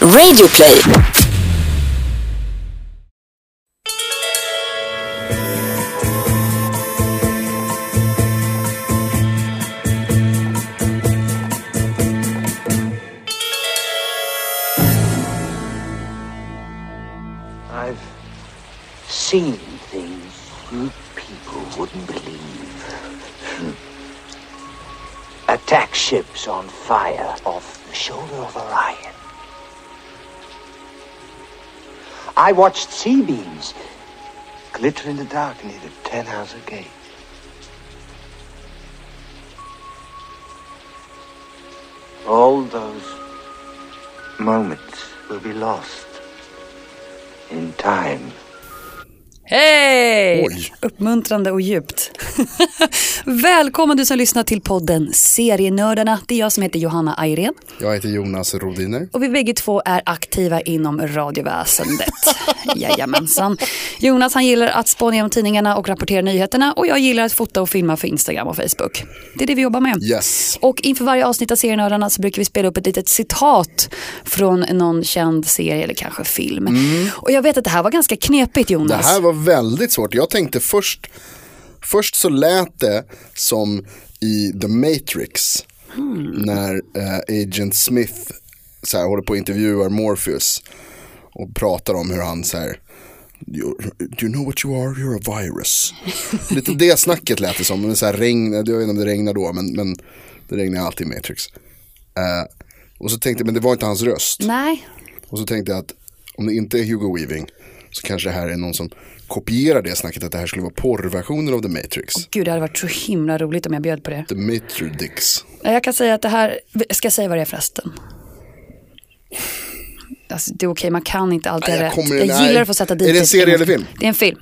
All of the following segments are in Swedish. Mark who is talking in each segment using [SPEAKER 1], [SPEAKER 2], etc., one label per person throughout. [SPEAKER 1] Radioplay.
[SPEAKER 2] I've seen things you people wouldn't believe. Attack ships on fire off the shoulder of Orion. I watched sea beams glitter in the dark near the Ten Hauser Gate. All those moments will be lost in time.
[SPEAKER 3] Hej!
[SPEAKER 4] Oj.
[SPEAKER 3] Uppmuntrande och djupt. Välkommen du som lyssnar till podden Serienördarna. Det är jag som heter Johanna Ayrén
[SPEAKER 4] Jag heter Jonas Rodiner.
[SPEAKER 3] och vi bägge två är aktiva inom radioväsendet. Jajamensan. Jonas han gillar att spåna genom tidningarna och rapportera nyheterna och jag gillar att fota och filma för Instagram och Facebook. Det är det vi jobbar med.
[SPEAKER 4] Yes.
[SPEAKER 3] Och inför varje avsnitt av Serienördarna så brukar vi spela upp ett litet citat från någon känd serie eller kanske film. Och jag vet att det här var ganska knepigt
[SPEAKER 4] Mm. Det
[SPEAKER 3] Jonas.
[SPEAKER 4] här var väldigt svårt. Jag tänkte först, först så lät det som i The Matrix. När eh, Agent Smith så här, håller på och intervjuar Morpheus. Och pratar om hur han så här. "You're- Do you know what you are? You're a virus. Lite det snacket lät det som. Men så här regn, jag vet inte om det regnar då, men, men det regnar alltid i Matrix. Eh, och så tänkte jag, men det var inte hans röst.
[SPEAKER 3] Nej,
[SPEAKER 4] Och så tänkte jag att om det inte är Hugo Weaving så kanske det här är någon som kopierar det snacket att det här skulle vara porrversionen av The Matrix.
[SPEAKER 3] Gud, det hade varit så himla roligt om jag bjöd på det.
[SPEAKER 4] The Matrix.
[SPEAKER 3] Jag kan säga att det här, jag ska säga vad det är förresten. Alltså, det är okej, man kan inte alltid
[SPEAKER 4] Nej,
[SPEAKER 3] ha
[SPEAKER 4] jag
[SPEAKER 3] rätt.
[SPEAKER 4] kommer-
[SPEAKER 3] jag
[SPEAKER 4] nej.
[SPEAKER 3] gillar att få sätta dit
[SPEAKER 4] Är det en serie eller film?
[SPEAKER 3] Det är en film.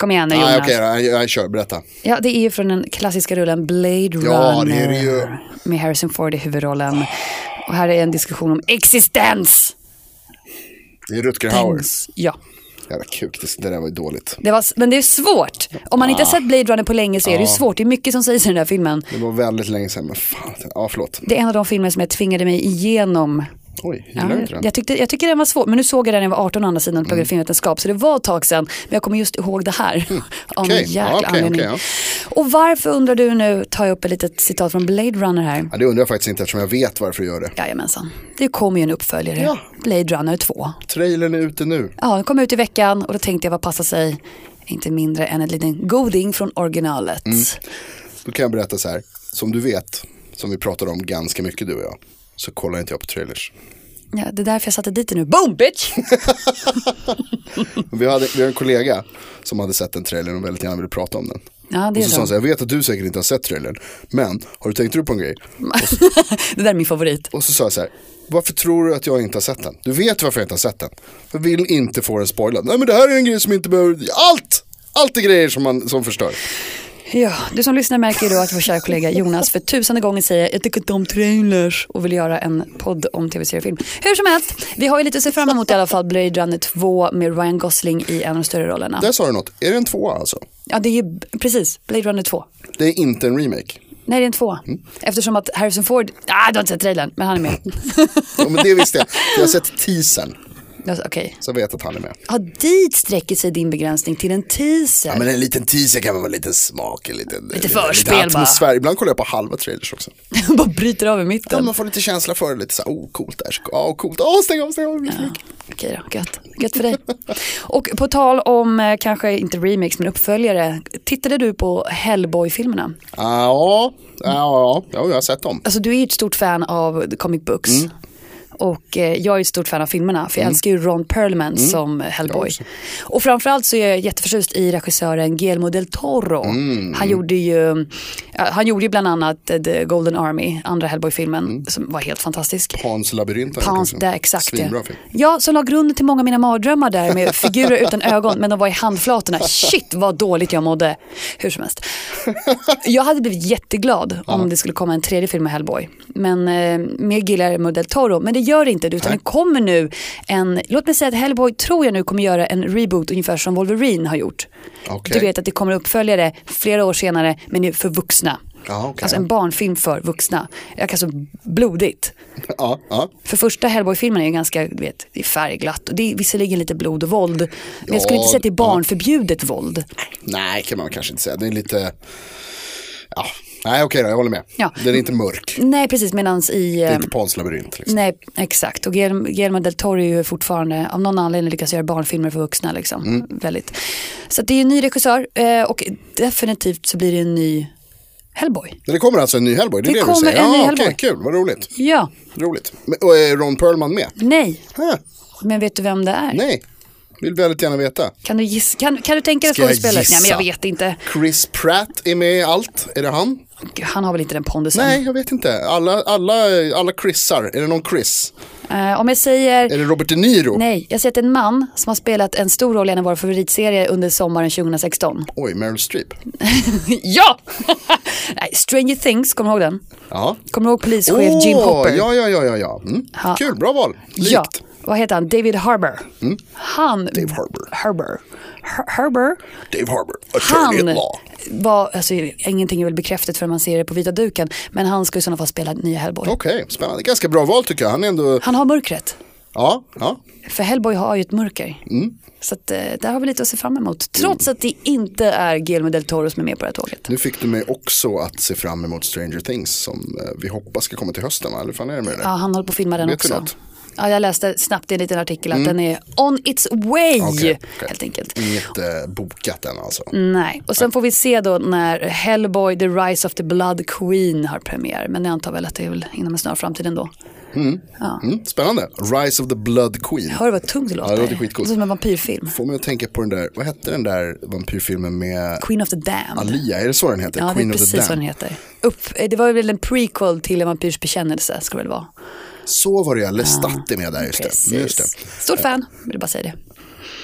[SPEAKER 3] Kom igen nu Jonas.
[SPEAKER 4] Nej okej, jag, jag kör, berätta.
[SPEAKER 3] Ja, det är ju från den klassiska rullen Blade
[SPEAKER 4] Ja, det
[SPEAKER 3] Runner.
[SPEAKER 4] är det ju.
[SPEAKER 3] Med Harrison Ford i huvudrollen. Och här är en diskussion om existens.
[SPEAKER 4] Det är Rutger Hauer.
[SPEAKER 3] Ja,
[SPEAKER 4] Jävla kuk, det, det där var ju dåligt.
[SPEAKER 3] det var, men det är svårt. Om man
[SPEAKER 4] Ah.
[SPEAKER 3] inte har sett Blade Runner på länge så är det ju svårt. Det är mycket som sägs i den där filmen.
[SPEAKER 4] Det var väldigt länge sedan, men fan. Ja, förlåt.
[SPEAKER 3] Det är en av de filmer som jag tvingade mig igenom.
[SPEAKER 4] Oj, gillar
[SPEAKER 3] Ja,
[SPEAKER 4] du inte den?
[SPEAKER 3] jag, tyckte, jag tycker den var svår, men nu såg jag den när jag var 18 å andra sidan på mm. filmvetenskap, så det var ett tag sedan. Men jag kommer just ihåg det här. Av någon
[SPEAKER 4] Mm. Okej,
[SPEAKER 3] jäkla
[SPEAKER 4] ja, okej,
[SPEAKER 3] anledning.
[SPEAKER 4] okej,
[SPEAKER 3] Och varför undrar du nu, tar jag upp ett litet citat från Blade Runner här.
[SPEAKER 4] Ja, det undrar jag faktiskt inte eftersom jag vet varför jag gör det.
[SPEAKER 3] Jajamensan, det kommer ju en uppföljare,
[SPEAKER 4] Ja.
[SPEAKER 3] Blade Runner 2.
[SPEAKER 4] Trailern är ute nu.
[SPEAKER 3] Ja, den kom ut i veckan och då tänkte jag vad passar sig, inte mindre än en liten goding från originalet.
[SPEAKER 4] Mm. Då kan jag berätta så här. Som du vet, som vi pratade om ganska mycket du och jag, så kollar inte jag på trailers.
[SPEAKER 3] Ja, det är därför jag satte dit det nu. Boom bitch!
[SPEAKER 4] Men Vi, hade, vi har en kollega som hade sett den trailern och väldigt gärna ville prata om den.
[SPEAKER 3] Ja, det
[SPEAKER 4] Och
[SPEAKER 3] är
[SPEAKER 4] så sa han
[SPEAKER 3] så.
[SPEAKER 4] så här, jag vet att du säkert inte har sett trailern, men har du tänkt upp på en grej?
[SPEAKER 3] Det där är min favorit.
[SPEAKER 4] Och så sa jag så här, varför tror du att jag inte har sett den? Du vet varför jag inte har sett den. Jag vill inte få den spoilad. Nej men det här är en grej som inte behöver, allt! Allt är grejer som, man, som förstör.
[SPEAKER 3] Ja, du som lyssnar märker ju då att vår kära kollega Jonas för tusende gången säger jag tycker inte om trailers och vill göra en podd om tv-seriefilm. Hur som helst, vi har ju lite att se fram emot i alla fall Blade Runner 2 med Ryan Gosling i en av de större rollerna.
[SPEAKER 4] Där sa du något, är det en tvåa alltså?
[SPEAKER 3] Ja, det är ju precis Blade Runner 2.
[SPEAKER 4] Det är inte en remake.
[SPEAKER 3] Nej, det är en tvåa. Eftersom att Harrison Ford, ah, du har inte sett trailern, men han är med.
[SPEAKER 4] Ja, men det visste jag, jag har sett teasern.
[SPEAKER 3] Jag sa, Okej,
[SPEAKER 4] Så jag vet att han är med.
[SPEAKER 3] ja, dit sträcker sig din begränsning till en teaser.
[SPEAKER 4] Ja, men en liten teaser kan vara en liten smak, en liten, lite,
[SPEAKER 3] förspel bara.
[SPEAKER 4] lite atmosfär. Ibland kollar jag på halva trailers också.
[SPEAKER 3] Bara bryter av i
[SPEAKER 4] Ja,
[SPEAKER 3] mitten.
[SPEAKER 4] man får lite känsla för det, lite så här, oh coolt där, ja coolt, åh stäng av, stäng av.
[SPEAKER 3] Ja, Okej då, gött. Gött för dig. Och på tal om, eh, kanske inte remix men uppföljare, tittade du på Hellboy-filmerna?
[SPEAKER 4] Ja, ja, ja, ja, jag har sett dem.
[SPEAKER 3] Alltså du är ju ett stort fan av the comic books. Och eh, jag är ett stort fan av filmerna, för jag älskar ju Ron Perlman som Hellboy. Och framförallt så är jag jätteförtjust i regissören Guillermo del Toro. Han, gjorde ju, ja, han gjorde ju bland annat eh, The Golden Army, andra Hellboy-filmen, som var helt fantastisk.
[SPEAKER 4] Hans labyrint. var det
[SPEAKER 3] Pans,
[SPEAKER 4] kanske.
[SPEAKER 3] där, exakt
[SPEAKER 4] Svinbra
[SPEAKER 3] det.
[SPEAKER 4] film.
[SPEAKER 3] Ja, som la grunden till många av mina mardrömmar där med figurer utan ögon, men de var i handflatorna. Shit vad dåligt jag mådde. Hur som helst. Jag hade blivit jätteglad om det skulle komma en tredje film med Hellboy. Men eh, med Guillermo del Toro. Men det gör det inte, utan det kommer nu en, låt mig säga att Hellboy tror jag nu kommer göra en reboot ungefär som Wolverine har gjort.
[SPEAKER 4] Okej.
[SPEAKER 3] Du vet att det kommer uppföljare flera år senare, men det är för vuxna.
[SPEAKER 4] Ja, okej.
[SPEAKER 3] Alltså en barnfilm för vuxna. Jag kan så alltså blodigt.
[SPEAKER 4] ja, ja.
[SPEAKER 3] För första Hellboy-filmen är ju ganska, du vet, det är färgglatt och det är visserligen lite blod och våld. Men jag skulle
[SPEAKER 4] Ja,
[SPEAKER 3] inte säga att det är
[SPEAKER 4] ja.
[SPEAKER 3] barnförbjudet våld.
[SPEAKER 4] Nej, kan man kanske inte säga. Det är lite... Ja. Nej, okej då, jag håller med.
[SPEAKER 3] Ja.
[SPEAKER 4] Den är inte mörk.
[SPEAKER 3] Nej, precis, medans i...
[SPEAKER 4] Det är
[SPEAKER 3] eh,
[SPEAKER 4] inte Pans labyrint. Liksom.
[SPEAKER 3] Nej, exakt. Och Guillermo Guillermo del Toro är ju fortfarande, av någon anledning, lyckas göra barnfilmer för vuxna. Liksom.
[SPEAKER 4] Mm.
[SPEAKER 3] Väldigt. Så att det är ju en ny regissör eh, och definitivt så blir det en ny Hellboy.
[SPEAKER 4] Men det kommer alltså en ny Hellboy, det,
[SPEAKER 3] Det
[SPEAKER 4] är det du
[SPEAKER 3] kommer
[SPEAKER 4] säger.
[SPEAKER 3] en ny
[SPEAKER 4] ja,
[SPEAKER 3] Hellboy.
[SPEAKER 4] okej, kul, vad roligt.
[SPEAKER 3] Ja,
[SPEAKER 4] roligt. Men, och är Ron Perlman med?
[SPEAKER 3] nej,
[SPEAKER 4] Huh,
[SPEAKER 3] men vet du vem det är?
[SPEAKER 4] nej, vill väldigt gärna veta.
[SPEAKER 3] Kan du, gissa, kan, kan du tänka dig
[SPEAKER 4] Ska jag
[SPEAKER 3] skådespelet? Nej, men jag
[SPEAKER 4] gissa?
[SPEAKER 3] vet inte.
[SPEAKER 4] Chris Pratt är med i allt, är det han?
[SPEAKER 3] Han har väl inte den pondusen?
[SPEAKER 4] Nej, jag vet inte. Alla, alla, alla Chrisar, är det någon Chris?
[SPEAKER 3] Eh, om jag säger...
[SPEAKER 4] Är det Robert De Niro?
[SPEAKER 3] Nej, jag säger att en man som har spelat en stor roll i en av våra favoritserier under sommaren 2016.
[SPEAKER 4] Oj, Meryl Streep.
[SPEAKER 3] ja! Nej, Stranger Things, kommer du ihåg den?
[SPEAKER 4] Ja.
[SPEAKER 3] Kommer du ihåg polischef Jim
[SPEAKER 4] Åh,
[SPEAKER 3] Hopper?
[SPEAKER 4] Ja, ja, ja, ja. ja. Mm.
[SPEAKER 3] Ja.
[SPEAKER 4] Kul, bra val. Likt.
[SPEAKER 3] Ja, vad heter han? David Harbour. Han...
[SPEAKER 4] Dave Harbour.
[SPEAKER 3] Harbour. Her- Harbour.
[SPEAKER 4] Dave Harbour, attorney
[SPEAKER 3] Han
[SPEAKER 4] at law.
[SPEAKER 3] var, alltså ingenting är väl bekräftat förrän man ser det på vita duken, men han ska i sådana fall spela nya Hellboy.
[SPEAKER 4] Okej, spännande. Ganska bra val tycker jag. Han är ändå,
[SPEAKER 3] Han har mörkret,
[SPEAKER 4] ja, ja.
[SPEAKER 3] för Hellboy har ju ett mörker.
[SPEAKER 4] Mm.
[SPEAKER 3] Så att, eh, där har vi lite att se fram emot, trots att det inte är Guillermo del Toro som är med på det här tåget.
[SPEAKER 4] Nu fick du mig också att se fram emot Stranger Things som eh, vi hoppas ska komma till hösten, va? Eller fan är det med det?
[SPEAKER 3] Ja, han håller på att filma den
[SPEAKER 4] Vet du
[SPEAKER 3] också.
[SPEAKER 4] något? Mm.
[SPEAKER 3] Ja, jag läste snabbt i en liten artikel att den är on its way,
[SPEAKER 4] Okej, okej.
[SPEAKER 3] helt enkelt.
[SPEAKER 4] Inget eh, bokat än alltså.
[SPEAKER 3] Nej, och sen får vi se då när Hellboy, The Rise of the Blood Queen har premiär. Men jag antar väl att det är väl inom en snar framtid ändå.
[SPEAKER 4] Mm, spännande. Rise of the Blood Queen.
[SPEAKER 3] Hör du vad tungt det låter?
[SPEAKER 4] Ja, det låter skitcoolt.
[SPEAKER 3] Som en vampyrfilm.
[SPEAKER 4] Får mig att tänka på den där, vad hette den där vampyrfilmen med
[SPEAKER 3] Queen of the Damned.
[SPEAKER 4] Alia, är det så den heter?
[SPEAKER 3] ja,
[SPEAKER 4] Queen
[SPEAKER 3] det är
[SPEAKER 4] of the
[SPEAKER 3] precis vad den
[SPEAKER 4] Damned.
[SPEAKER 3] heter. Upp, eh, det var väl en prequel till en vampyrs bekännelse, ska det väl vara.
[SPEAKER 4] Så var det ja, Lestat är med där, just
[SPEAKER 3] Precis.
[SPEAKER 4] det. just det.
[SPEAKER 3] Stort fan, vill jag bara säga det.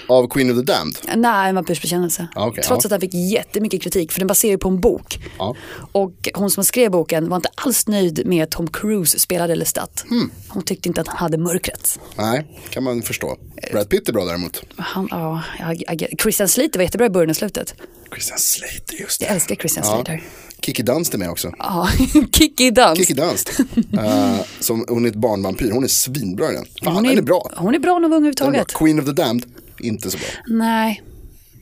[SPEAKER 4] Av Queen of the Damned.
[SPEAKER 3] Nej, en vampyrs bekännelse.
[SPEAKER 4] Ja, okej,
[SPEAKER 3] Trots
[SPEAKER 4] ja.
[SPEAKER 3] att den fick jättemycket kritik, för den baserar ju på en bok.
[SPEAKER 4] Ja.
[SPEAKER 3] Och hon som skrev boken var inte alls nöjd med att Tom Cruise spelade Lestat.
[SPEAKER 4] Hmm.
[SPEAKER 3] Hon tyckte inte att han hade mörkret.
[SPEAKER 4] Nej, kan man förstå. Brad Pitt är bra däremot.
[SPEAKER 3] Han, ja, jag, jag, Christian Slater var jättebra i början och slutet.
[SPEAKER 4] Christian Slater, just det.
[SPEAKER 3] Jag älskar Christian Slater.
[SPEAKER 4] Kiki Dunst är med också.
[SPEAKER 3] Ja, Kikki Dans.
[SPEAKER 4] Kiki Dunst. Eh, som, hon är ett barnvampyr, hon är svinbra i den. Fan, hon är, den är bra.
[SPEAKER 3] Hon är bra när hon var ung
[SPEAKER 4] Den är bra.
[SPEAKER 3] överhuvudtaget.
[SPEAKER 4] Queen of the Damned, inte så bra.
[SPEAKER 3] Nej,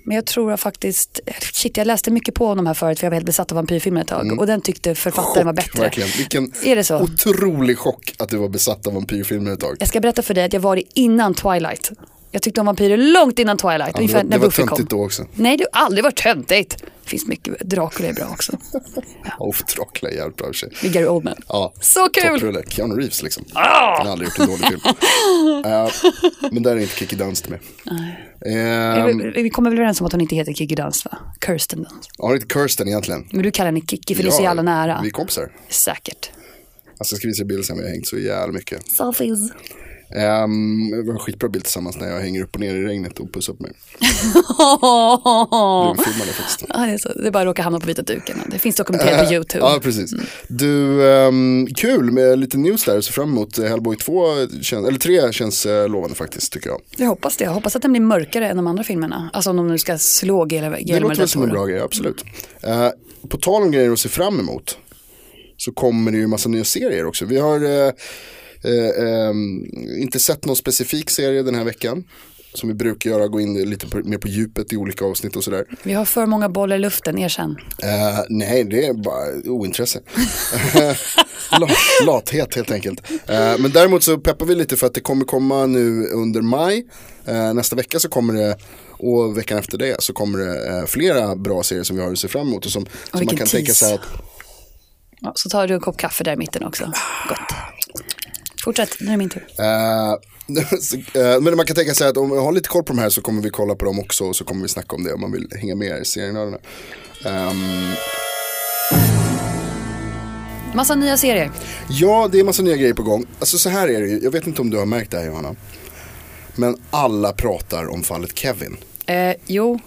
[SPEAKER 3] men jag tror jag faktiskt, shit jag läste mycket på honom här förut för jag var helt besatt av vampyrfilmer ett tag och den tyckte författaren var bättre.
[SPEAKER 4] Mm. Verkligen. Vilken
[SPEAKER 3] Är det så?
[SPEAKER 4] otrolig chock att du var besatt av vampyrfilmer ett tag.
[SPEAKER 3] Jag ska berätta för dig att jag var det innan Twilight. Jag tyckte om vampyrer långt innan Twilight,
[SPEAKER 4] det
[SPEAKER 3] ungefär
[SPEAKER 4] var-
[SPEAKER 3] när
[SPEAKER 4] det var
[SPEAKER 3] Buffy kom.
[SPEAKER 4] töntigt då också.
[SPEAKER 3] Nej, det har aldrig varit töntigt. Det finns mycket, Dracula är bra också.
[SPEAKER 4] Ja, Uff, Dracula är jävligt bra i och för sig.
[SPEAKER 3] Med Gary Oldman.
[SPEAKER 4] Ja,
[SPEAKER 3] Så kul!
[SPEAKER 4] topprulle. Keanu Reeves liksom. Han har aldrig gjort en dålig film. Eh, men där är inte Kiki Dunst med. Um,
[SPEAKER 3] Vi- vi kommer väl överens om att hon inte heter Kikki Dans va? Kirsten Dans.
[SPEAKER 4] har inte Kirsten egentligen?
[SPEAKER 3] Men du kallar henne Kikki för ni är så jävla nära.
[SPEAKER 4] Vi är kompisar.
[SPEAKER 3] Säkert.
[SPEAKER 4] Alltså, jag ska visa er bild sen, vi har hängt så jävla mycket.
[SPEAKER 3] Selfies.
[SPEAKER 4] Ehm, vi har en skitbra bild tillsammans när jag hänger upp och ner i regnet och pussar på mig.
[SPEAKER 3] Oh.
[SPEAKER 4] Vi filmar det faktiskt.
[SPEAKER 3] Ja, det, är så. det är bara råkar hamna på vita duken. Det finns dokumenterat på YouTube.
[SPEAKER 4] Äh,
[SPEAKER 3] Mm.
[SPEAKER 4] Ja, precis. Du, ehm, kul med lite news där. Så fram emot eh, Hellboy 2, känns, eller 3 känns eh, lovande faktiskt tycker jag.
[SPEAKER 3] Jag hoppas det. Jag hoppas att den blir mörkare än de andra filmerna. Alltså om de nu ska slå Guillermo
[SPEAKER 4] Det låter
[SPEAKER 3] del
[SPEAKER 4] väl som en
[SPEAKER 3] Toro.
[SPEAKER 4] bra grej, absolut. Eh, på tal om grejer att se fram emot så kommer det ju massa nya serier också. Vi har eh, eh, ehm, inte sett någon specifik serie den här veckan. Som vi brukar göra, gå in lite på, mer på djupet i olika avsnitt och sådär.
[SPEAKER 3] Vi har för många bollar i luften, erkänn.
[SPEAKER 4] Eh, nej, det är bara ointresse. La- Lathet helt enkelt. Eh, men däremot så peppar vi lite för att det kommer komma nu under maj. Eh, nästa vecka så kommer det och veckan efter det så kommer det eh, flera bra serier som vi har att se fram emot. Och som, som man
[SPEAKER 3] vilken
[SPEAKER 4] kan tänka
[SPEAKER 3] tease.
[SPEAKER 4] sig att
[SPEAKER 3] Ja, så tar du en kopp kaffe där i mitten också. Gott. Fortsätt, nu är det min tur.
[SPEAKER 4] Eh, så, eh, men man kan tänka sig att om vi har lite koll på de här så kommer vi kolla på dem också och så kommer vi snacka om det om man vill hänga med i serienördarna. Ehm,
[SPEAKER 3] Massa nya serier.
[SPEAKER 4] Ja, det är massa nya grejer på gång. Alltså så här är det ju, jag vet inte om du har märkt det här Johanna. Men alla pratar om fallet Kevin.
[SPEAKER 3] Eh, jo,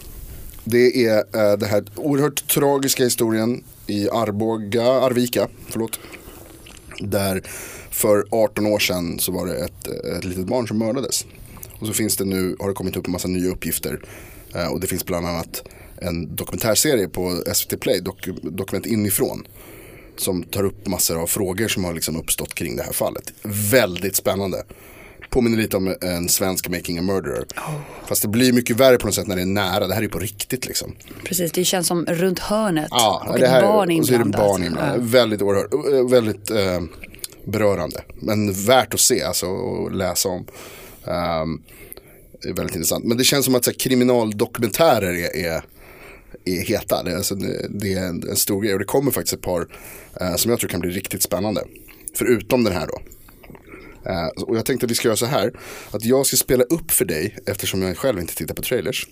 [SPEAKER 4] Det är eh, den här oerhört tragiska historien i Arboga, Arvika, förlåt. Där för 18 år sedan så var det ett, eh, ett litet barn som mördades. Och så finns det nu, har det kommit upp en massa nya uppgifter. Eh, och det finns bland annat en dokumentärserie på SVT Play, dok, Dokument inifrån. Som tar upp massor av frågor som har liksom uppstått kring det här fallet. Väldigt spännande. Påminner lite om en svensk Making a Murderer. Fast det blir mycket värre på något sätt när det är nära. Det här är ju på riktigt liksom.
[SPEAKER 3] Precis, det känns som runt hörnet.
[SPEAKER 4] Ja,
[SPEAKER 3] och
[SPEAKER 4] det
[SPEAKER 3] ett
[SPEAKER 4] här,
[SPEAKER 3] barn
[SPEAKER 4] och så är det
[SPEAKER 3] inblandat.
[SPEAKER 4] barn inblandat. Väldigt oerhört, eh, väldigt eh, berörande. Men värt att se alltså, och läsa om. Ehm, det är väldigt intressant. Men det känns som att så här, kriminaldokumentärer är, är, är heta. Det är, alltså, det- det är en, en stor grej. Och det kommer faktiskt ett par eh, som jag tror kan bli riktigt spännande. Förutom den här då. Eh, och jag tänkte att vi ska göra så här. Att jag ska spela upp för dig, eftersom jag själv inte tittar på trailers.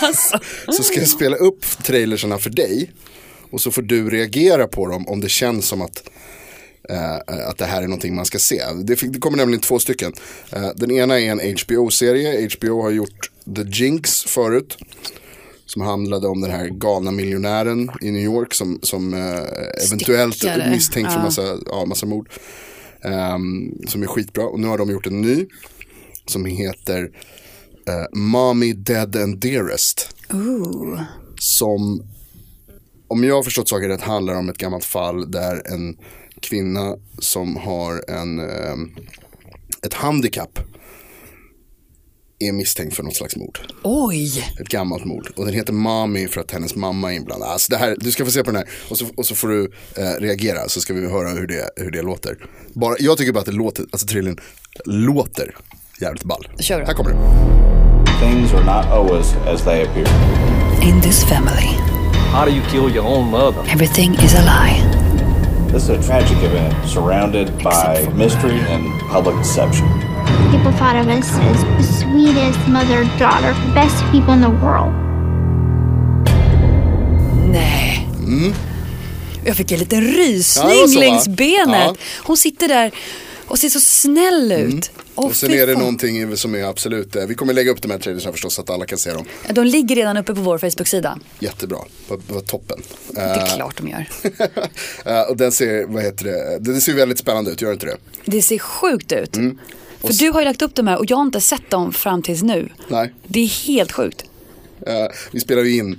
[SPEAKER 3] Alltså,
[SPEAKER 4] Så ska jag spela upp trailersarna för dig. Och så får du reagera på dem om det känns som att, eh, att det här är någonting man ska se. Det, fick, det kommer nämligen två stycken. Eh, den ena är en HBO-serie. HBO har gjort The Jinx förut. Som handlade om den här galna miljonären i New York som, som eh, eventuellt
[SPEAKER 3] Stickare.
[SPEAKER 4] misstänks för
[SPEAKER 3] Ja.
[SPEAKER 4] massa, ja, massa mord. Ehm, som är skitbra. Och nu har de gjort en ny. Som heter eh, Mommy Dead and Dearest
[SPEAKER 3] ooh.
[SPEAKER 4] som, om jag har förstått saken rätt, handlar om ett gammalt fall där en kvinna som har en, ehm, ett handikapp är misstänkt för något slags mord.
[SPEAKER 3] Oj,
[SPEAKER 4] Ett gammalt mord. Och den heter Mami för att hennes mamma är inblandad. Alltså det här, du ska få se på den här. Och så, och så får du eh, reagera så ska vi höra hur det, hur det låter. Bara, jag tycker bara att det låter, alltså trillen låter jävligt ball.
[SPEAKER 3] Kör då.
[SPEAKER 4] Här kommer det.
[SPEAKER 1] Things are not always as they appear.
[SPEAKER 5] In this family,
[SPEAKER 6] How do you kill your own mother?
[SPEAKER 5] everything is a lie.
[SPEAKER 1] This is a tragic event surrounded by mystery and public deception.
[SPEAKER 7] People thought of us as the sweetest mother daughter, best people in the world.
[SPEAKER 3] nej. Jag fick en liten rysning
[SPEAKER 4] Mm. Ja, det var så, va?
[SPEAKER 3] längs benet.
[SPEAKER 4] Ja.
[SPEAKER 3] Hon sitter där och ser så snäll ut. Åh,
[SPEAKER 4] Mm. Och sen
[SPEAKER 3] fy
[SPEAKER 4] är det
[SPEAKER 3] fan.
[SPEAKER 4] någonting som är absolut, eh, vi kommer lägga upp de här trailersna förstås så att alla kan se dem.
[SPEAKER 3] De ligger redan uppe på vår Facebook-sida.
[SPEAKER 4] Jättebra, vad, vad toppen.
[SPEAKER 3] Det
[SPEAKER 4] Äh.
[SPEAKER 3] är klart de gör.
[SPEAKER 4] Eh, och den ser, vad heter det, den ser väldigt spännande ut, gör den inte det?
[SPEAKER 3] Det ser sjukt ut.
[SPEAKER 4] Mm.
[SPEAKER 3] För du har ju lagt upp de här och jag har inte sett dem fram tills nu.
[SPEAKER 4] Nej.
[SPEAKER 3] Det är helt sjukt.
[SPEAKER 4] Eh, vi spelar ju in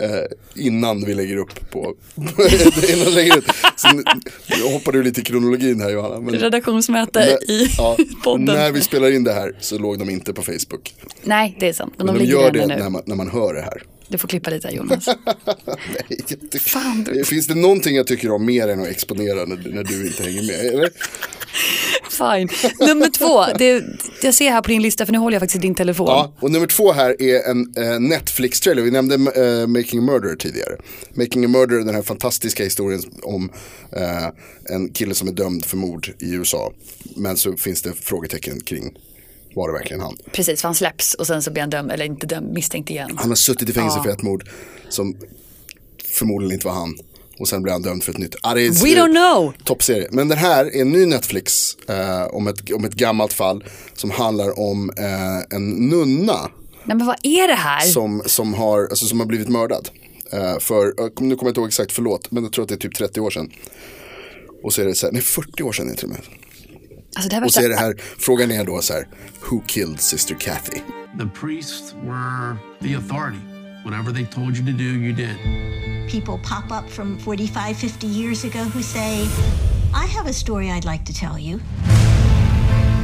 [SPEAKER 4] eh, innan vi lägger upp på, innan vi lägger ut. Så nu- nu hoppar du lite i kronologin här Johanna. Men,
[SPEAKER 3] Redaktionsmöte
[SPEAKER 4] när-
[SPEAKER 3] i
[SPEAKER 4] ja,
[SPEAKER 3] podden.
[SPEAKER 4] När vi spelar in det här så låg de inte på Facebook.
[SPEAKER 3] Nej, det är sant. Men de,
[SPEAKER 4] Men de
[SPEAKER 3] ligger
[SPEAKER 4] gör
[SPEAKER 3] där
[SPEAKER 4] det
[SPEAKER 3] nu.
[SPEAKER 4] när man, när man hör det här.
[SPEAKER 3] Du får klippa lite här, Jonas.
[SPEAKER 4] Nej, jag tycker-
[SPEAKER 3] Fan, du-
[SPEAKER 4] Finns det någonting jag tycker om mer än att exponera när, när du inte hänger med? Eller?
[SPEAKER 3] Fine. Nummer två. Det, jag ser här på din lista, för nu håller jag faktiskt i din telefon.
[SPEAKER 4] Ja, och nummer två här är en eh, Netflix-trailer. Vi nämnde eh, Making a Murderer tidigare. Making a Murderer, den här fantastiska historien om eh, en kille som är dömd för mord i USA. Men så finns det frågetecken kring var det verkligen han.
[SPEAKER 3] Precis, för han släpps och sen så blir han dömd, eller inte dömd, misstänkt igen.
[SPEAKER 4] Han har suttit i fängelse för ett mord som förmodligen inte var han. Och sen blir han dömd för ett nytt. Ah, det är-
[SPEAKER 3] We don't know.
[SPEAKER 4] Toppserie. Men den här är en ny Netflix eh, om, ett, om ett gammalt fall som handlar om eh, en nunna
[SPEAKER 3] Nej, men vad är det här?
[SPEAKER 4] som, som, har, alltså, som har blivit mördad. Eh, för, jag kom- nu kommer jag inte ihåg exakt, förlåt, men jag tror att det är typ 30 år sedan. Och så är det så här, nej 40 år sedan är det till och med.
[SPEAKER 3] Alltså, det här
[SPEAKER 4] Och så är
[SPEAKER 3] värsta-
[SPEAKER 4] det här, frågan är då så här, who killed sister Kathy?
[SPEAKER 8] The priests were the authority. Whatever they told you to do, you did.
[SPEAKER 9] people pop up from 45, 50 years ago who say, I have a story I'd like to tell you.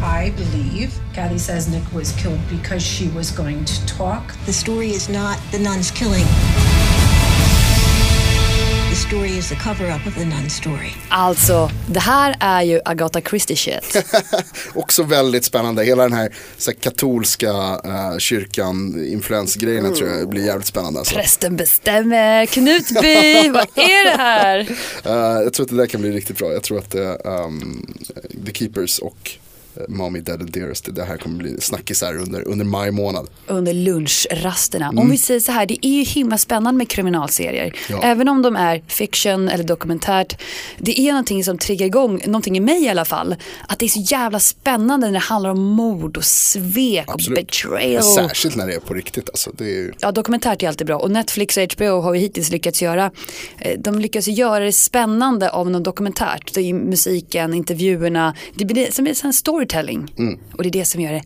[SPEAKER 10] I believe Kathy Sesnick was killed because she was going to talk.
[SPEAKER 9] The story is not the nun's killing. The story is the cover up of the nun story.
[SPEAKER 3] Alltså, det här är ju Agatha Christie shit.
[SPEAKER 4] Också väldigt spännande, hela den här, så här katolska eh, kyrkan, influensgrejen tror jag blir jävligt spännande. Alltså.
[SPEAKER 3] Prästen bestämmer, Knutby, vad är det här?
[SPEAKER 4] Eh, jag tror att det där kan bli riktigt bra, jag tror att eh, um, The Keepers och eh, Mommy Dead and Dearest, det här kommer bli snackisar under, under maj månad.
[SPEAKER 3] under lunchrasterna. Om vi säger så här, det är ju himla spännande med kriminalserier.
[SPEAKER 4] Ja.
[SPEAKER 3] Även om de är fiction eller dokumentärt. Det är någonting som triggar igång, någonting i mig i alla fall. Att det är så jävla spännande när det handlar om mord och svek och
[SPEAKER 4] Men
[SPEAKER 3] betrayal.
[SPEAKER 4] Särskilt när det är på riktigt alltså. Det är ju...
[SPEAKER 3] Ja, dokumentärt är alltid bra och Netflix och HBO har ju hittills lyckats göra, eh, de lyckas ju göra det spännande av något dokumentärt. Det är ju musiken, intervjuerna, det blir det som är en storytelling. Och det är det som gör det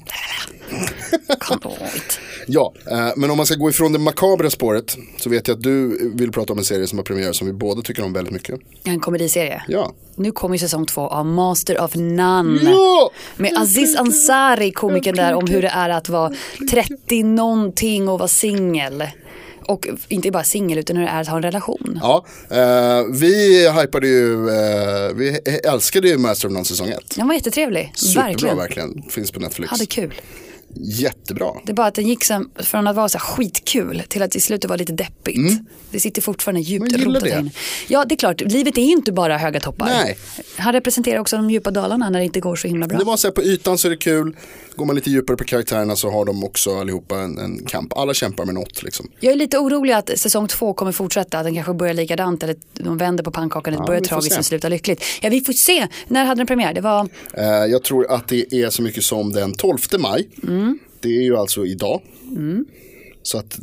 [SPEAKER 3] Can't wait.
[SPEAKER 4] Ja, eh, men om man ska gå ifrån det makabra spåret så vet jag att du vill prata om en serie som har premiär som vi båda tycker om väldigt mycket.
[SPEAKER 3] En komediserie.
[SPEAKER 4] Ja.
[SPEAKER 3] Nu kommer ju säsong två av Master of None.
[SPEAKER 4] Ja!
[SPEAKER 3] Med Aziz Ansari, komikern där, om hur det är att vara 30 någonting och vara singel. Och inte bara singel, utan hur det är att ha en relation.
[SPEAKER 4] Ja, eh, vi hypade ju, eh, vi älskade ju Master of None säsong 1.
[SPEAKER 3] Den var jättetrevlig,
[SPEAKER 4] Superbra
[SPEAKER 3] verkligen.
[SPEAKER 4] verkligen, finns på Netflix.
[SPEAKER 3] Hade kul.
[SPEAKER 4] Jättebra.
[SPEAKER 3] Det är bara att den gick sen, från att vara så här skitkul till att i slutet var lite deppigt. Det sitter fortfarande
[SPEAKER 4] Mm. Men
[SPEAKER 3] djupt
[SPEAKER 4] jag gillar
[SPEAKER 3] rotat
[SPEAKER 4] det.
[SPEAKER 3] in. Ja, det är klart, livet är inte bara höga toppar.
[SPEAKER 4] Nej.
[SPEAKER 3] Han representerar också de djupa dalarna när det inte går så himla bra.
[SPEAKER 4] Det var så här, på ytan så är det kul, går man lite djupare på karaktärerna så har de också allihopa en, en kamp. Alla kämpar med något liksom.
[SPEAKER 3] Jag är lite orolig att säsong två kommer fortsätta, att den kanske börjar likadant eller att de vänder på pannkakan, att det börjar
[SPEAKER 4] vi får
[SPEAKER 3] tragiskt
[SPEAKER 4] se.
[SPEAKER 3] och slutar lyckligt. Ja, vi får se. När hade den premiär? Det var,
[SPEAKER 4] Eh, jag tror att det är så mycket som den 12 maj.
[SPEAKER 3] Mm.
[SPEAKER 4] Det är ju alltså idag. Så att,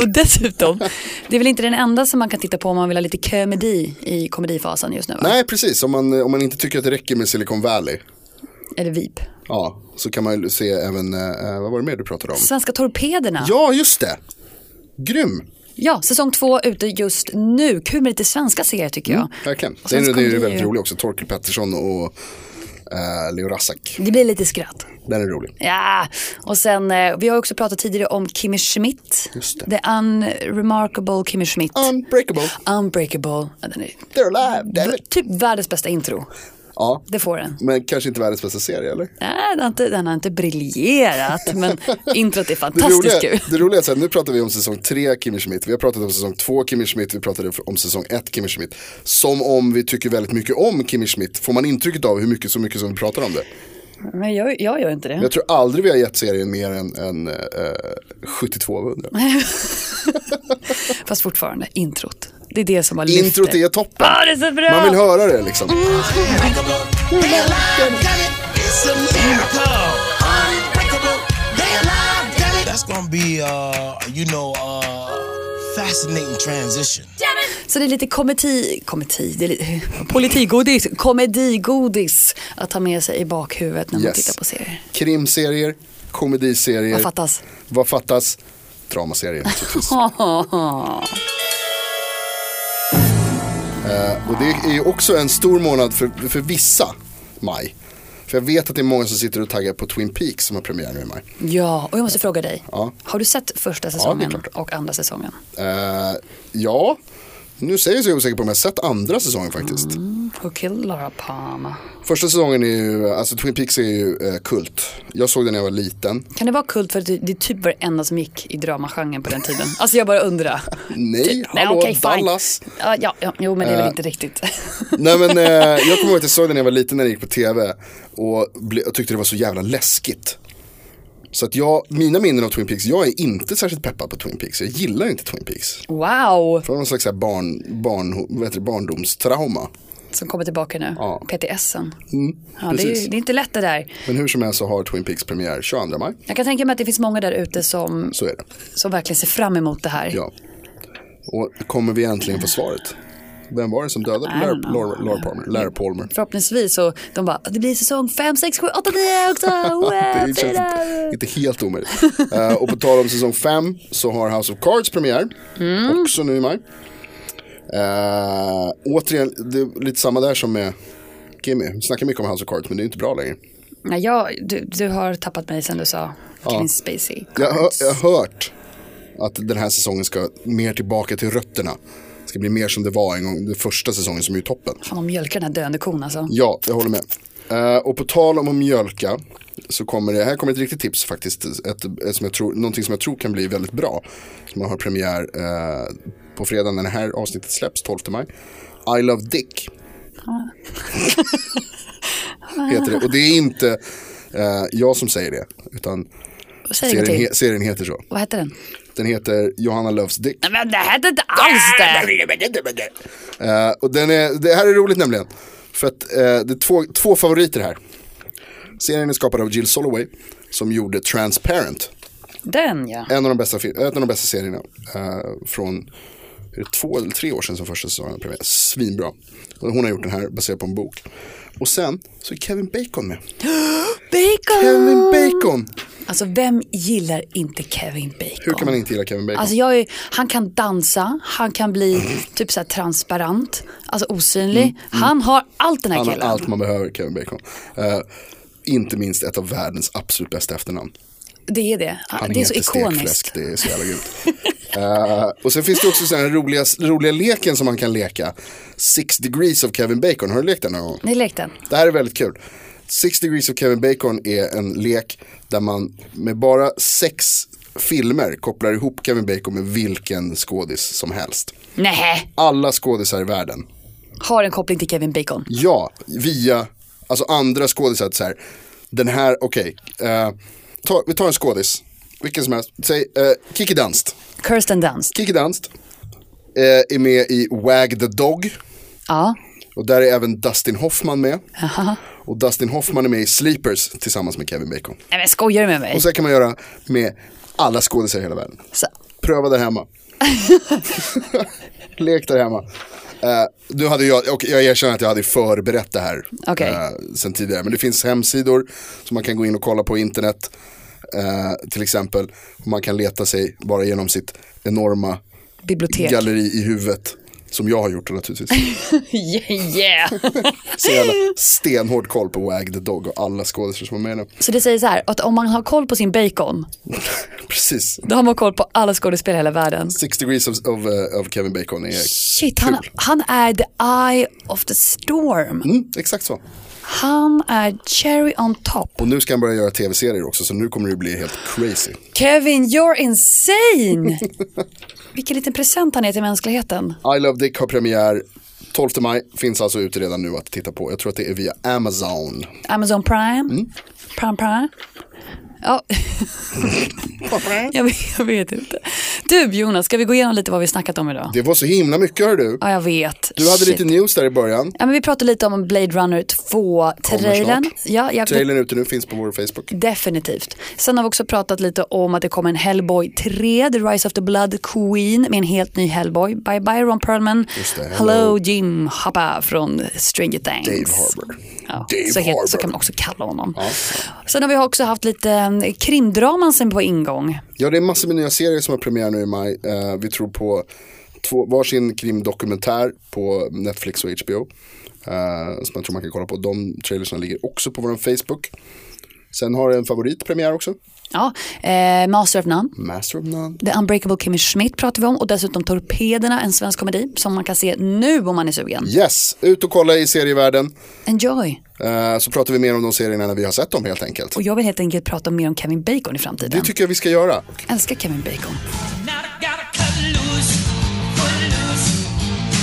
[SPEAKER 3] och dessutom, det är väl inte den enda som man kan titta på om man vill ha lite komedi i komedifasen just nu? Va?
[SPEAKER 4] nej precis, om man, eh, om man inte tycker att det räcker med Silicon Valley.
[SPEAKER 3] Eller VIP.
[SPEAKER 4] Ja, så kan man ju se även, eh, vad var det mer du pratade om?
[SPEAKER 3] Svenska Torpederna.
[SPEAKER 4] Ja, just det. Grym.
[SPEAKER 3] Ja, säsong två ute just nu. Kul med lite svenska serier tycker jag.
[SPEAKER 4] Verkligen.
[SPEAKER 3] Och
[SPEAKER 4] Det
[SPEAKER 3] sen
[SPEAKER 4] är,
[SPEAKER 3] så
[SPEAKER 4] det är
[SPEAKER 3] kommer
[SPEAKER 4] ju
[SPEAKER 3] det
[SPEAKER 4] väldigt
[SPEAKER 3] ju-
[SPEAKER 4] rolig också. Torkel Pettersson och eh, Leo Rassak.
[SPEAKER 3] Det blir lite skratt.
[SPEAKER 4] Den är rolig.
[SPEAKER 3] Ja, och sen eh, vi har också pratat tidigare om Kimmy Schmidt.
[SPEAKER 4] Just det.
[SPEAKER 3] The unremarkable Kimmy Schmidt.
[SPEAKER 4] Unbreakable.
[SPEAKER 3] Unbreakable. Ja, den är
[SPEAKER 4] They're alive, damn it.
[SPEAKER 3] typ världens bästa intro.
[SPEAKER 4] Ja,
[SPEAKER 3] Det får den.
[SPEAKER 4] men kanske inte världens bästa serie eller?
[SPEAKER 3] Nej, den har inte, den har inte briljerat, men introt är
[SPEAKER 4] Det
[SPEAKER 3] fantastiskt
[SPEAKER 4] roliga,
[SPEAKER 3] kul.
[SPEAKER 4] det roliga är att nu pratar vi om säsong 3 Kimmy Schmidt, vi har pratat om säsong 2 Kimmy Schmidt, vi pratade om säsong 1 Kimmy Schmidt. Som om vi tycker väldigt mycket om Kimmy Schmidt, får man intrycket av hur mycket, så mycket som vi pratar om det.
[SPEAKER 3] Men jag, jag gör inte det.
[SPEAKER 4] Jag tror aldrig vi har gett serien mer än, än eh, 72 av 100.
[SPEAKER 3] Fast fortfarande, introt. Det är det som har lyft
[SPEAKER 4] Introt är toppen,
[SPEAKER 3] Ja, det är så bra!
[SPEAKER 4] man vill höra det liksom.
[SPEAKER 8] That's gonna be, uh, you know, uh, fascinating transition.
[SPEAKER 3] Så det är lite komedi, komedi, det är lite, politigodis, komedigodis att ha med sig i bakhuvudet när man
[SPEAKER 4] Yes.
[SPEAKER 3] tittar på serier.
[SPEAKER 4] Krimserier, komediserier.
[SPEAKER 3] Vad fattas?
[SPEAKER 4] Vad fattas? Dramaserier naturligtvis. Eh, och det är ju också en stor månad för, för vissa, maj. För jag vet att det är många som sitter och taggar på Twin Peaks som har premiär nu i maj.
[SPEAKER 3] Ja, och jag måste fråga dig.
[SPEAKER 4] Ja.
[SPEAKER 3] Har du sett första
[SPEAKER 4] det är
[SPEAKER 3] säsongen
[SPEAKER 4] klart.
[SPEAKER 3] och andra säsongen?
[SPEAKER 4] Eh, ja, nu säger jag så jag är osäker på om jag har sett andra säsongen faktiskt.
[SPEAKER 3] Who killed Laura Palmer?
[SPEAKER 4] Första säsongen är ju, alltså Twin Peaks är ju eh, kult. Jag såg den när jag var liten.
[SPEAKER 3] Kan det vara kult för att det, det typ var det enda som gick i dramagenren på den tiden? Alltså jag bara undrar.
[SPEAKER 4] Nej,
[SPEAKER 3] Typ,
[SPEAKER 4] hallå,
[SPEAKER 3] okej, fine.
[SPEAKER 4] Dallas. Eh.
[SPEAKER 3] Ja, ja, ja, jo men det är väl inte riktigt.
[SPEAKER 4] Nej men eh, jag kommer ihåg att jag såg den när jag var liten när den gick på tv och ble, jag tyckte det var så jävla läskigt. Så att jag, mina minnen av Twin Peaks, jag är inte särskilt peppad på Twin Peaks, jag gillar inte Twin Peaks.
[SPEAKER 3] Wow,
[SPEAKER 4] Från någon slags så här barn, barn, vad heter det, barndomstrauma.
[SPEAKER 3] som kommer tillbaka nu.
[SPEAKER 4] Ja. Mm,
[SPEAKER 3] PTSen. ja, det, är,
[SPEAKER 4] precis.
[SPEAKER 3] ju- det är inte lätt det där.
[SPEAKER 4] Men hur som helst så har Twin Peaks premiär 22 maj,
[SPEAKER 3] Jag kan tänka mig att det finns många där ute som,
[SPEAKER 4] så är det.
[SPEAKER 3] som verkligen ser fram emot det här.
[SPEAKER 4] Ja. Och kommer vi äntligen få svaret? Vem var det som dödade
[SPEAKER 3] I don't
[SPEAKER 4] Lar-
[SPEAKER 3] know.
[SPEAKER 4] Lar- Lar Palmer? Lar Palmer.
[SPEAKER 3] Förhoppningsvis så de bara, det blir säsong 5, 6, 7, 8, 9 också. Wow,
[SPEAKER 4] Det känns inte, inte helt omöjligt. Eh, och på tal om säsong 5 så har House of Cards premiär. Också nu i maj. Eh, återigen, det är lite samma där som med Kimmy. Vi snackar mycket om House of Cards men det är inte bra längre.
[SPEAKER 3] Nej, jag, du, du har tappat mig sen du sa Kevin Spacey.
[SPEAKER 4] Jag har jag har hört att den här säsongen ska mer tillbaka till rötterna. Det ska bli mer som det var en gång, den första säsongen som är ju toppen.
[SPEAKER 3] Fan, de mjölkar den här döende kon alltså.
[SPEAKER 4] Ja, jag håller med. Eh, och på tal om att mjölka så kommer det, här kommer ett riktigt tips faktiskt, ett, ett som jag tror, någonting som jag tror kan bli väldigt bra. Som har premiär eh, på fredag när det här avsnittet släpps, 12 maj. I Love Dick. heter det. Och det är inte eh, jag som säger det, utan
[SPEAKER 3] Säg
[SPEAKER 4] serien,
[SPEAKER 3] ingenting.
[SPEAKER 4] he, serien heter så.
[SPEAKER 3] Vad heter den?
[SPEAKER 4] Den heter Johanna Loves Dick.
[SPEAKER 3] Nej, men det hette inte alls det.
[SPEAKER 4] Eh, och den är, det här är roligt nämligen. För att eh, det är två, två favoriter här. Serien är skapad av Jill Soloway som gjorde Transparent.
[SPEAKER 3] Den ja.
[SPEAKER 4] En av de bästa, fil- en av de bästa serierna eh, från är det två eller tre år sedan som första säsongen premiär. Svinbra. Och hon har gjort den här baserad på en bok. Och sen så är Kevin Bacon med.
[SPEAKER 3] Bacon!
[SPEAKER 4] Kevin Bacon.
[SPEAKER 3] Alltså vem gillar inte Kevin Bacon?
[SPEAKER 4] Hur kan man inte gilla Kevin Bacon?
[SPEAKER 3] Alltså jag är, han kan dansa, han kan bli typ så här transparent, alltså osynlig. Han har allt den här
[SPEAKER 4] Mm, Han har
[SPEAKER 3] killen.
[SPEAKER 4] allt man behöver, Kevin Bacon. Eh, inte minst ett av världens absolut bästa efternamn.
[SPEAKER 3] Det är det.
[SPEAKER 4] Han
[SPEAKER 3] det är så
[SPEAKER 4] heter
[SPEAKER 3] ikoniskt.
[SPEAKER 4] Stekfläsk, det är så jävla grymt. Eh, och sen finns det också så här roliga, roliga leken som man kan leka. Six degrees of Kevin Bacon, har du lekt den någon gång?
[SPEAKER 3] Ni lekte den.
[SPEAKER 4] Det här är väldigt kul. Six Degrees of Kevin Bacon är en lek där man med bara sex filmer kopplar ihop Kevin Bacon med vilken skådis som helst.
[SPEAKER 3] Nej,
[SPEAKER 4] Alla skådisar i världen.
[SPEAKER 3] har en koppling till Kevin Bacon.
[SPEAKER 4] Ja, via alltså andra skådisar. Så här, den här, okej. eh, ta, vi tar en skådis. Vilken som helst. Säg eh, Kiki Danst.
[SPEAKER 3] Kirsten Dunst.
[SPEAKER 4] Kiki Danst eh, är med i Wag the Dog.
[SPEAKER 3] Ja,
[SPEAKER 4] Och där är även Dustin Hoffman med. Och Dustin Hoffman är med i Sleepers tillsammans med Kevin Bacon.
[SPEAKER 3] Nej, men skojar du med mig?
[SPEAKER 4] Och så kan man göra med alla skådisar i hela världen.
[SPEAKER 3] Så,
[SPEAKER 4] Pröva där hemma. Lek där hemma. Eh, nu hade jag, och jag erkänner att jag hade förberett det här
[SPEAKER 3] Okej.
[SPEAKER 4] eh, sen tidigare. Men det finns hemsidor som man kan gå in och kolla på internet. eh, till exempel. Och man kan leta sig bara genom sitt enorma
[SPEAKER 3] bibliotek.
[SPEAKER 4] galleri i huvudet. Som jag har gjort det naturligtvis.
[SPEAKER 3] yeah, yeah.
[SPEAKER 4] Så jag hade stenhård koll på Wag the Dog och alla skådespelare som var med i den.
[SPEAKER 3] så det säger så här, att om man har koll på sin bacon,
[SPEAKER 4] Precis.
[SPEAKER 3] då har man koll på alla skådespelare i hela världen.
[SPEAKER 4] Six degrees of, of, eh, of Kevin Bacon är
[SPEAKER 3] Shit, han, han är the eye of the storm.
[SPEAKER 4] mm, exakt så.
[SPEAKER 3] Han är cherry on top.
[SPEAKER 4] Och nu ska han börja göra tv-serier också så nu kommer det bli helt crazy.
[SPEAKER 3] Kevin, you're insane! Vilken liten present han är till mänskligheten.
[SPEAKER 4] I Love Dick har premiär 12 maj, finns alltså ute redan nu att titta på. Jag tror att det är via Amazon.
[SPEAKER 3] Amazon Prime.
[SPEAKER 4] Mm.
[SPEAKER 3] Prime Prime. Ja. jag, vet, jag vet inte. Du Jonas, ska vi gå igenom lite vad vi snackat om idag?
[SPEAKER 4] Det var så himla mycket hör du.
[SPEAKER 3] Ja, jag vet.
[SPEAKER 4] Du hade
[SPEAKER 3] Shit.
[SPEAKER 4] lite news där i början.
[SPEAKER 3] Ja, men vi pratade lite om Blade Runner 2-trailern.
[SPEAKER 4] snart.
[SPEAKER 3] Ja, jag...
[SPEAKER 4] Trailern är ute nu, finns på vår Facebook.
[SPEAKER 3] Definitivt. Sen har vi också pratat lite om att det kommer en Hellboy 3, The Rise of the Blood Queen med en helt ny Hellboy. Bye bye Ron Perlman.
[SPEAKER 4] Just det,
[SPEAKER 3] hello.
[SPEAKER 4] hello.
[SPEAKER 3] Jim Hoppa från Stranger Things.
[SPEAKER 4] Dave Harbour.
[SPEAKER 3] Ja,
[SPEAKER 4] Dave
[SPEAKER 3] så, het, så
[SPEAKER 4] Harbour.
[SPEAKER 3] kan man också kalla honom. Sen har vi också haft lite eh, krimdraman sen på ingång.
[SPEAKER 4] Ja, det är massor med nya serier som har premiär nu i maj. Eh, vi tror på två, varsin krimdokumentär på Netflix och HBO. Eh, som jag tror man kan kolla på. De trailersna ligger också på vår Facebook. Sen har en favorit premiär också.
[SPEAKER 3] Ja, eh, Master of None.
[SPEAKER 4] Master of None.
[SPEAKER 3] The Unbreakable Kimmy Schmidt pratar vi om och dessutom Torpederna, en svensk komedi som man kan se nu om man är sugen.
[SPEAKER 4] Yes, ut och kolla i serievärlden.
[SPEAKER 3] Enjoy!
[SPEAKER 4] Eh, så pratar vi mer om de serierna när vi har sett dem helt enkelt.
[SPEAKER 3] Och jag vill helt enkelt prata mer om Kevin Bacon i framtiden.
[SPEAKER 4] Det tycker jag vi ska göra.
[SPEAKER 3] Älskar Kevin Bacon.
[SPEAKER 8] Now I gotta cut loose, cut loose.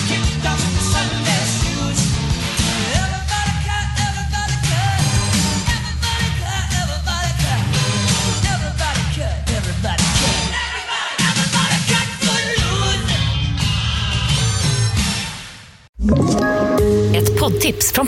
[SPEAKER 8] Kicked off the Sunday shoes. Everybody cut, everybody cut. Everybody cut, everybody cut. Everybody cut, everybody cut. Everybody, everybody cut, cut loose.
[SPEAKER 5] Ett poddtips från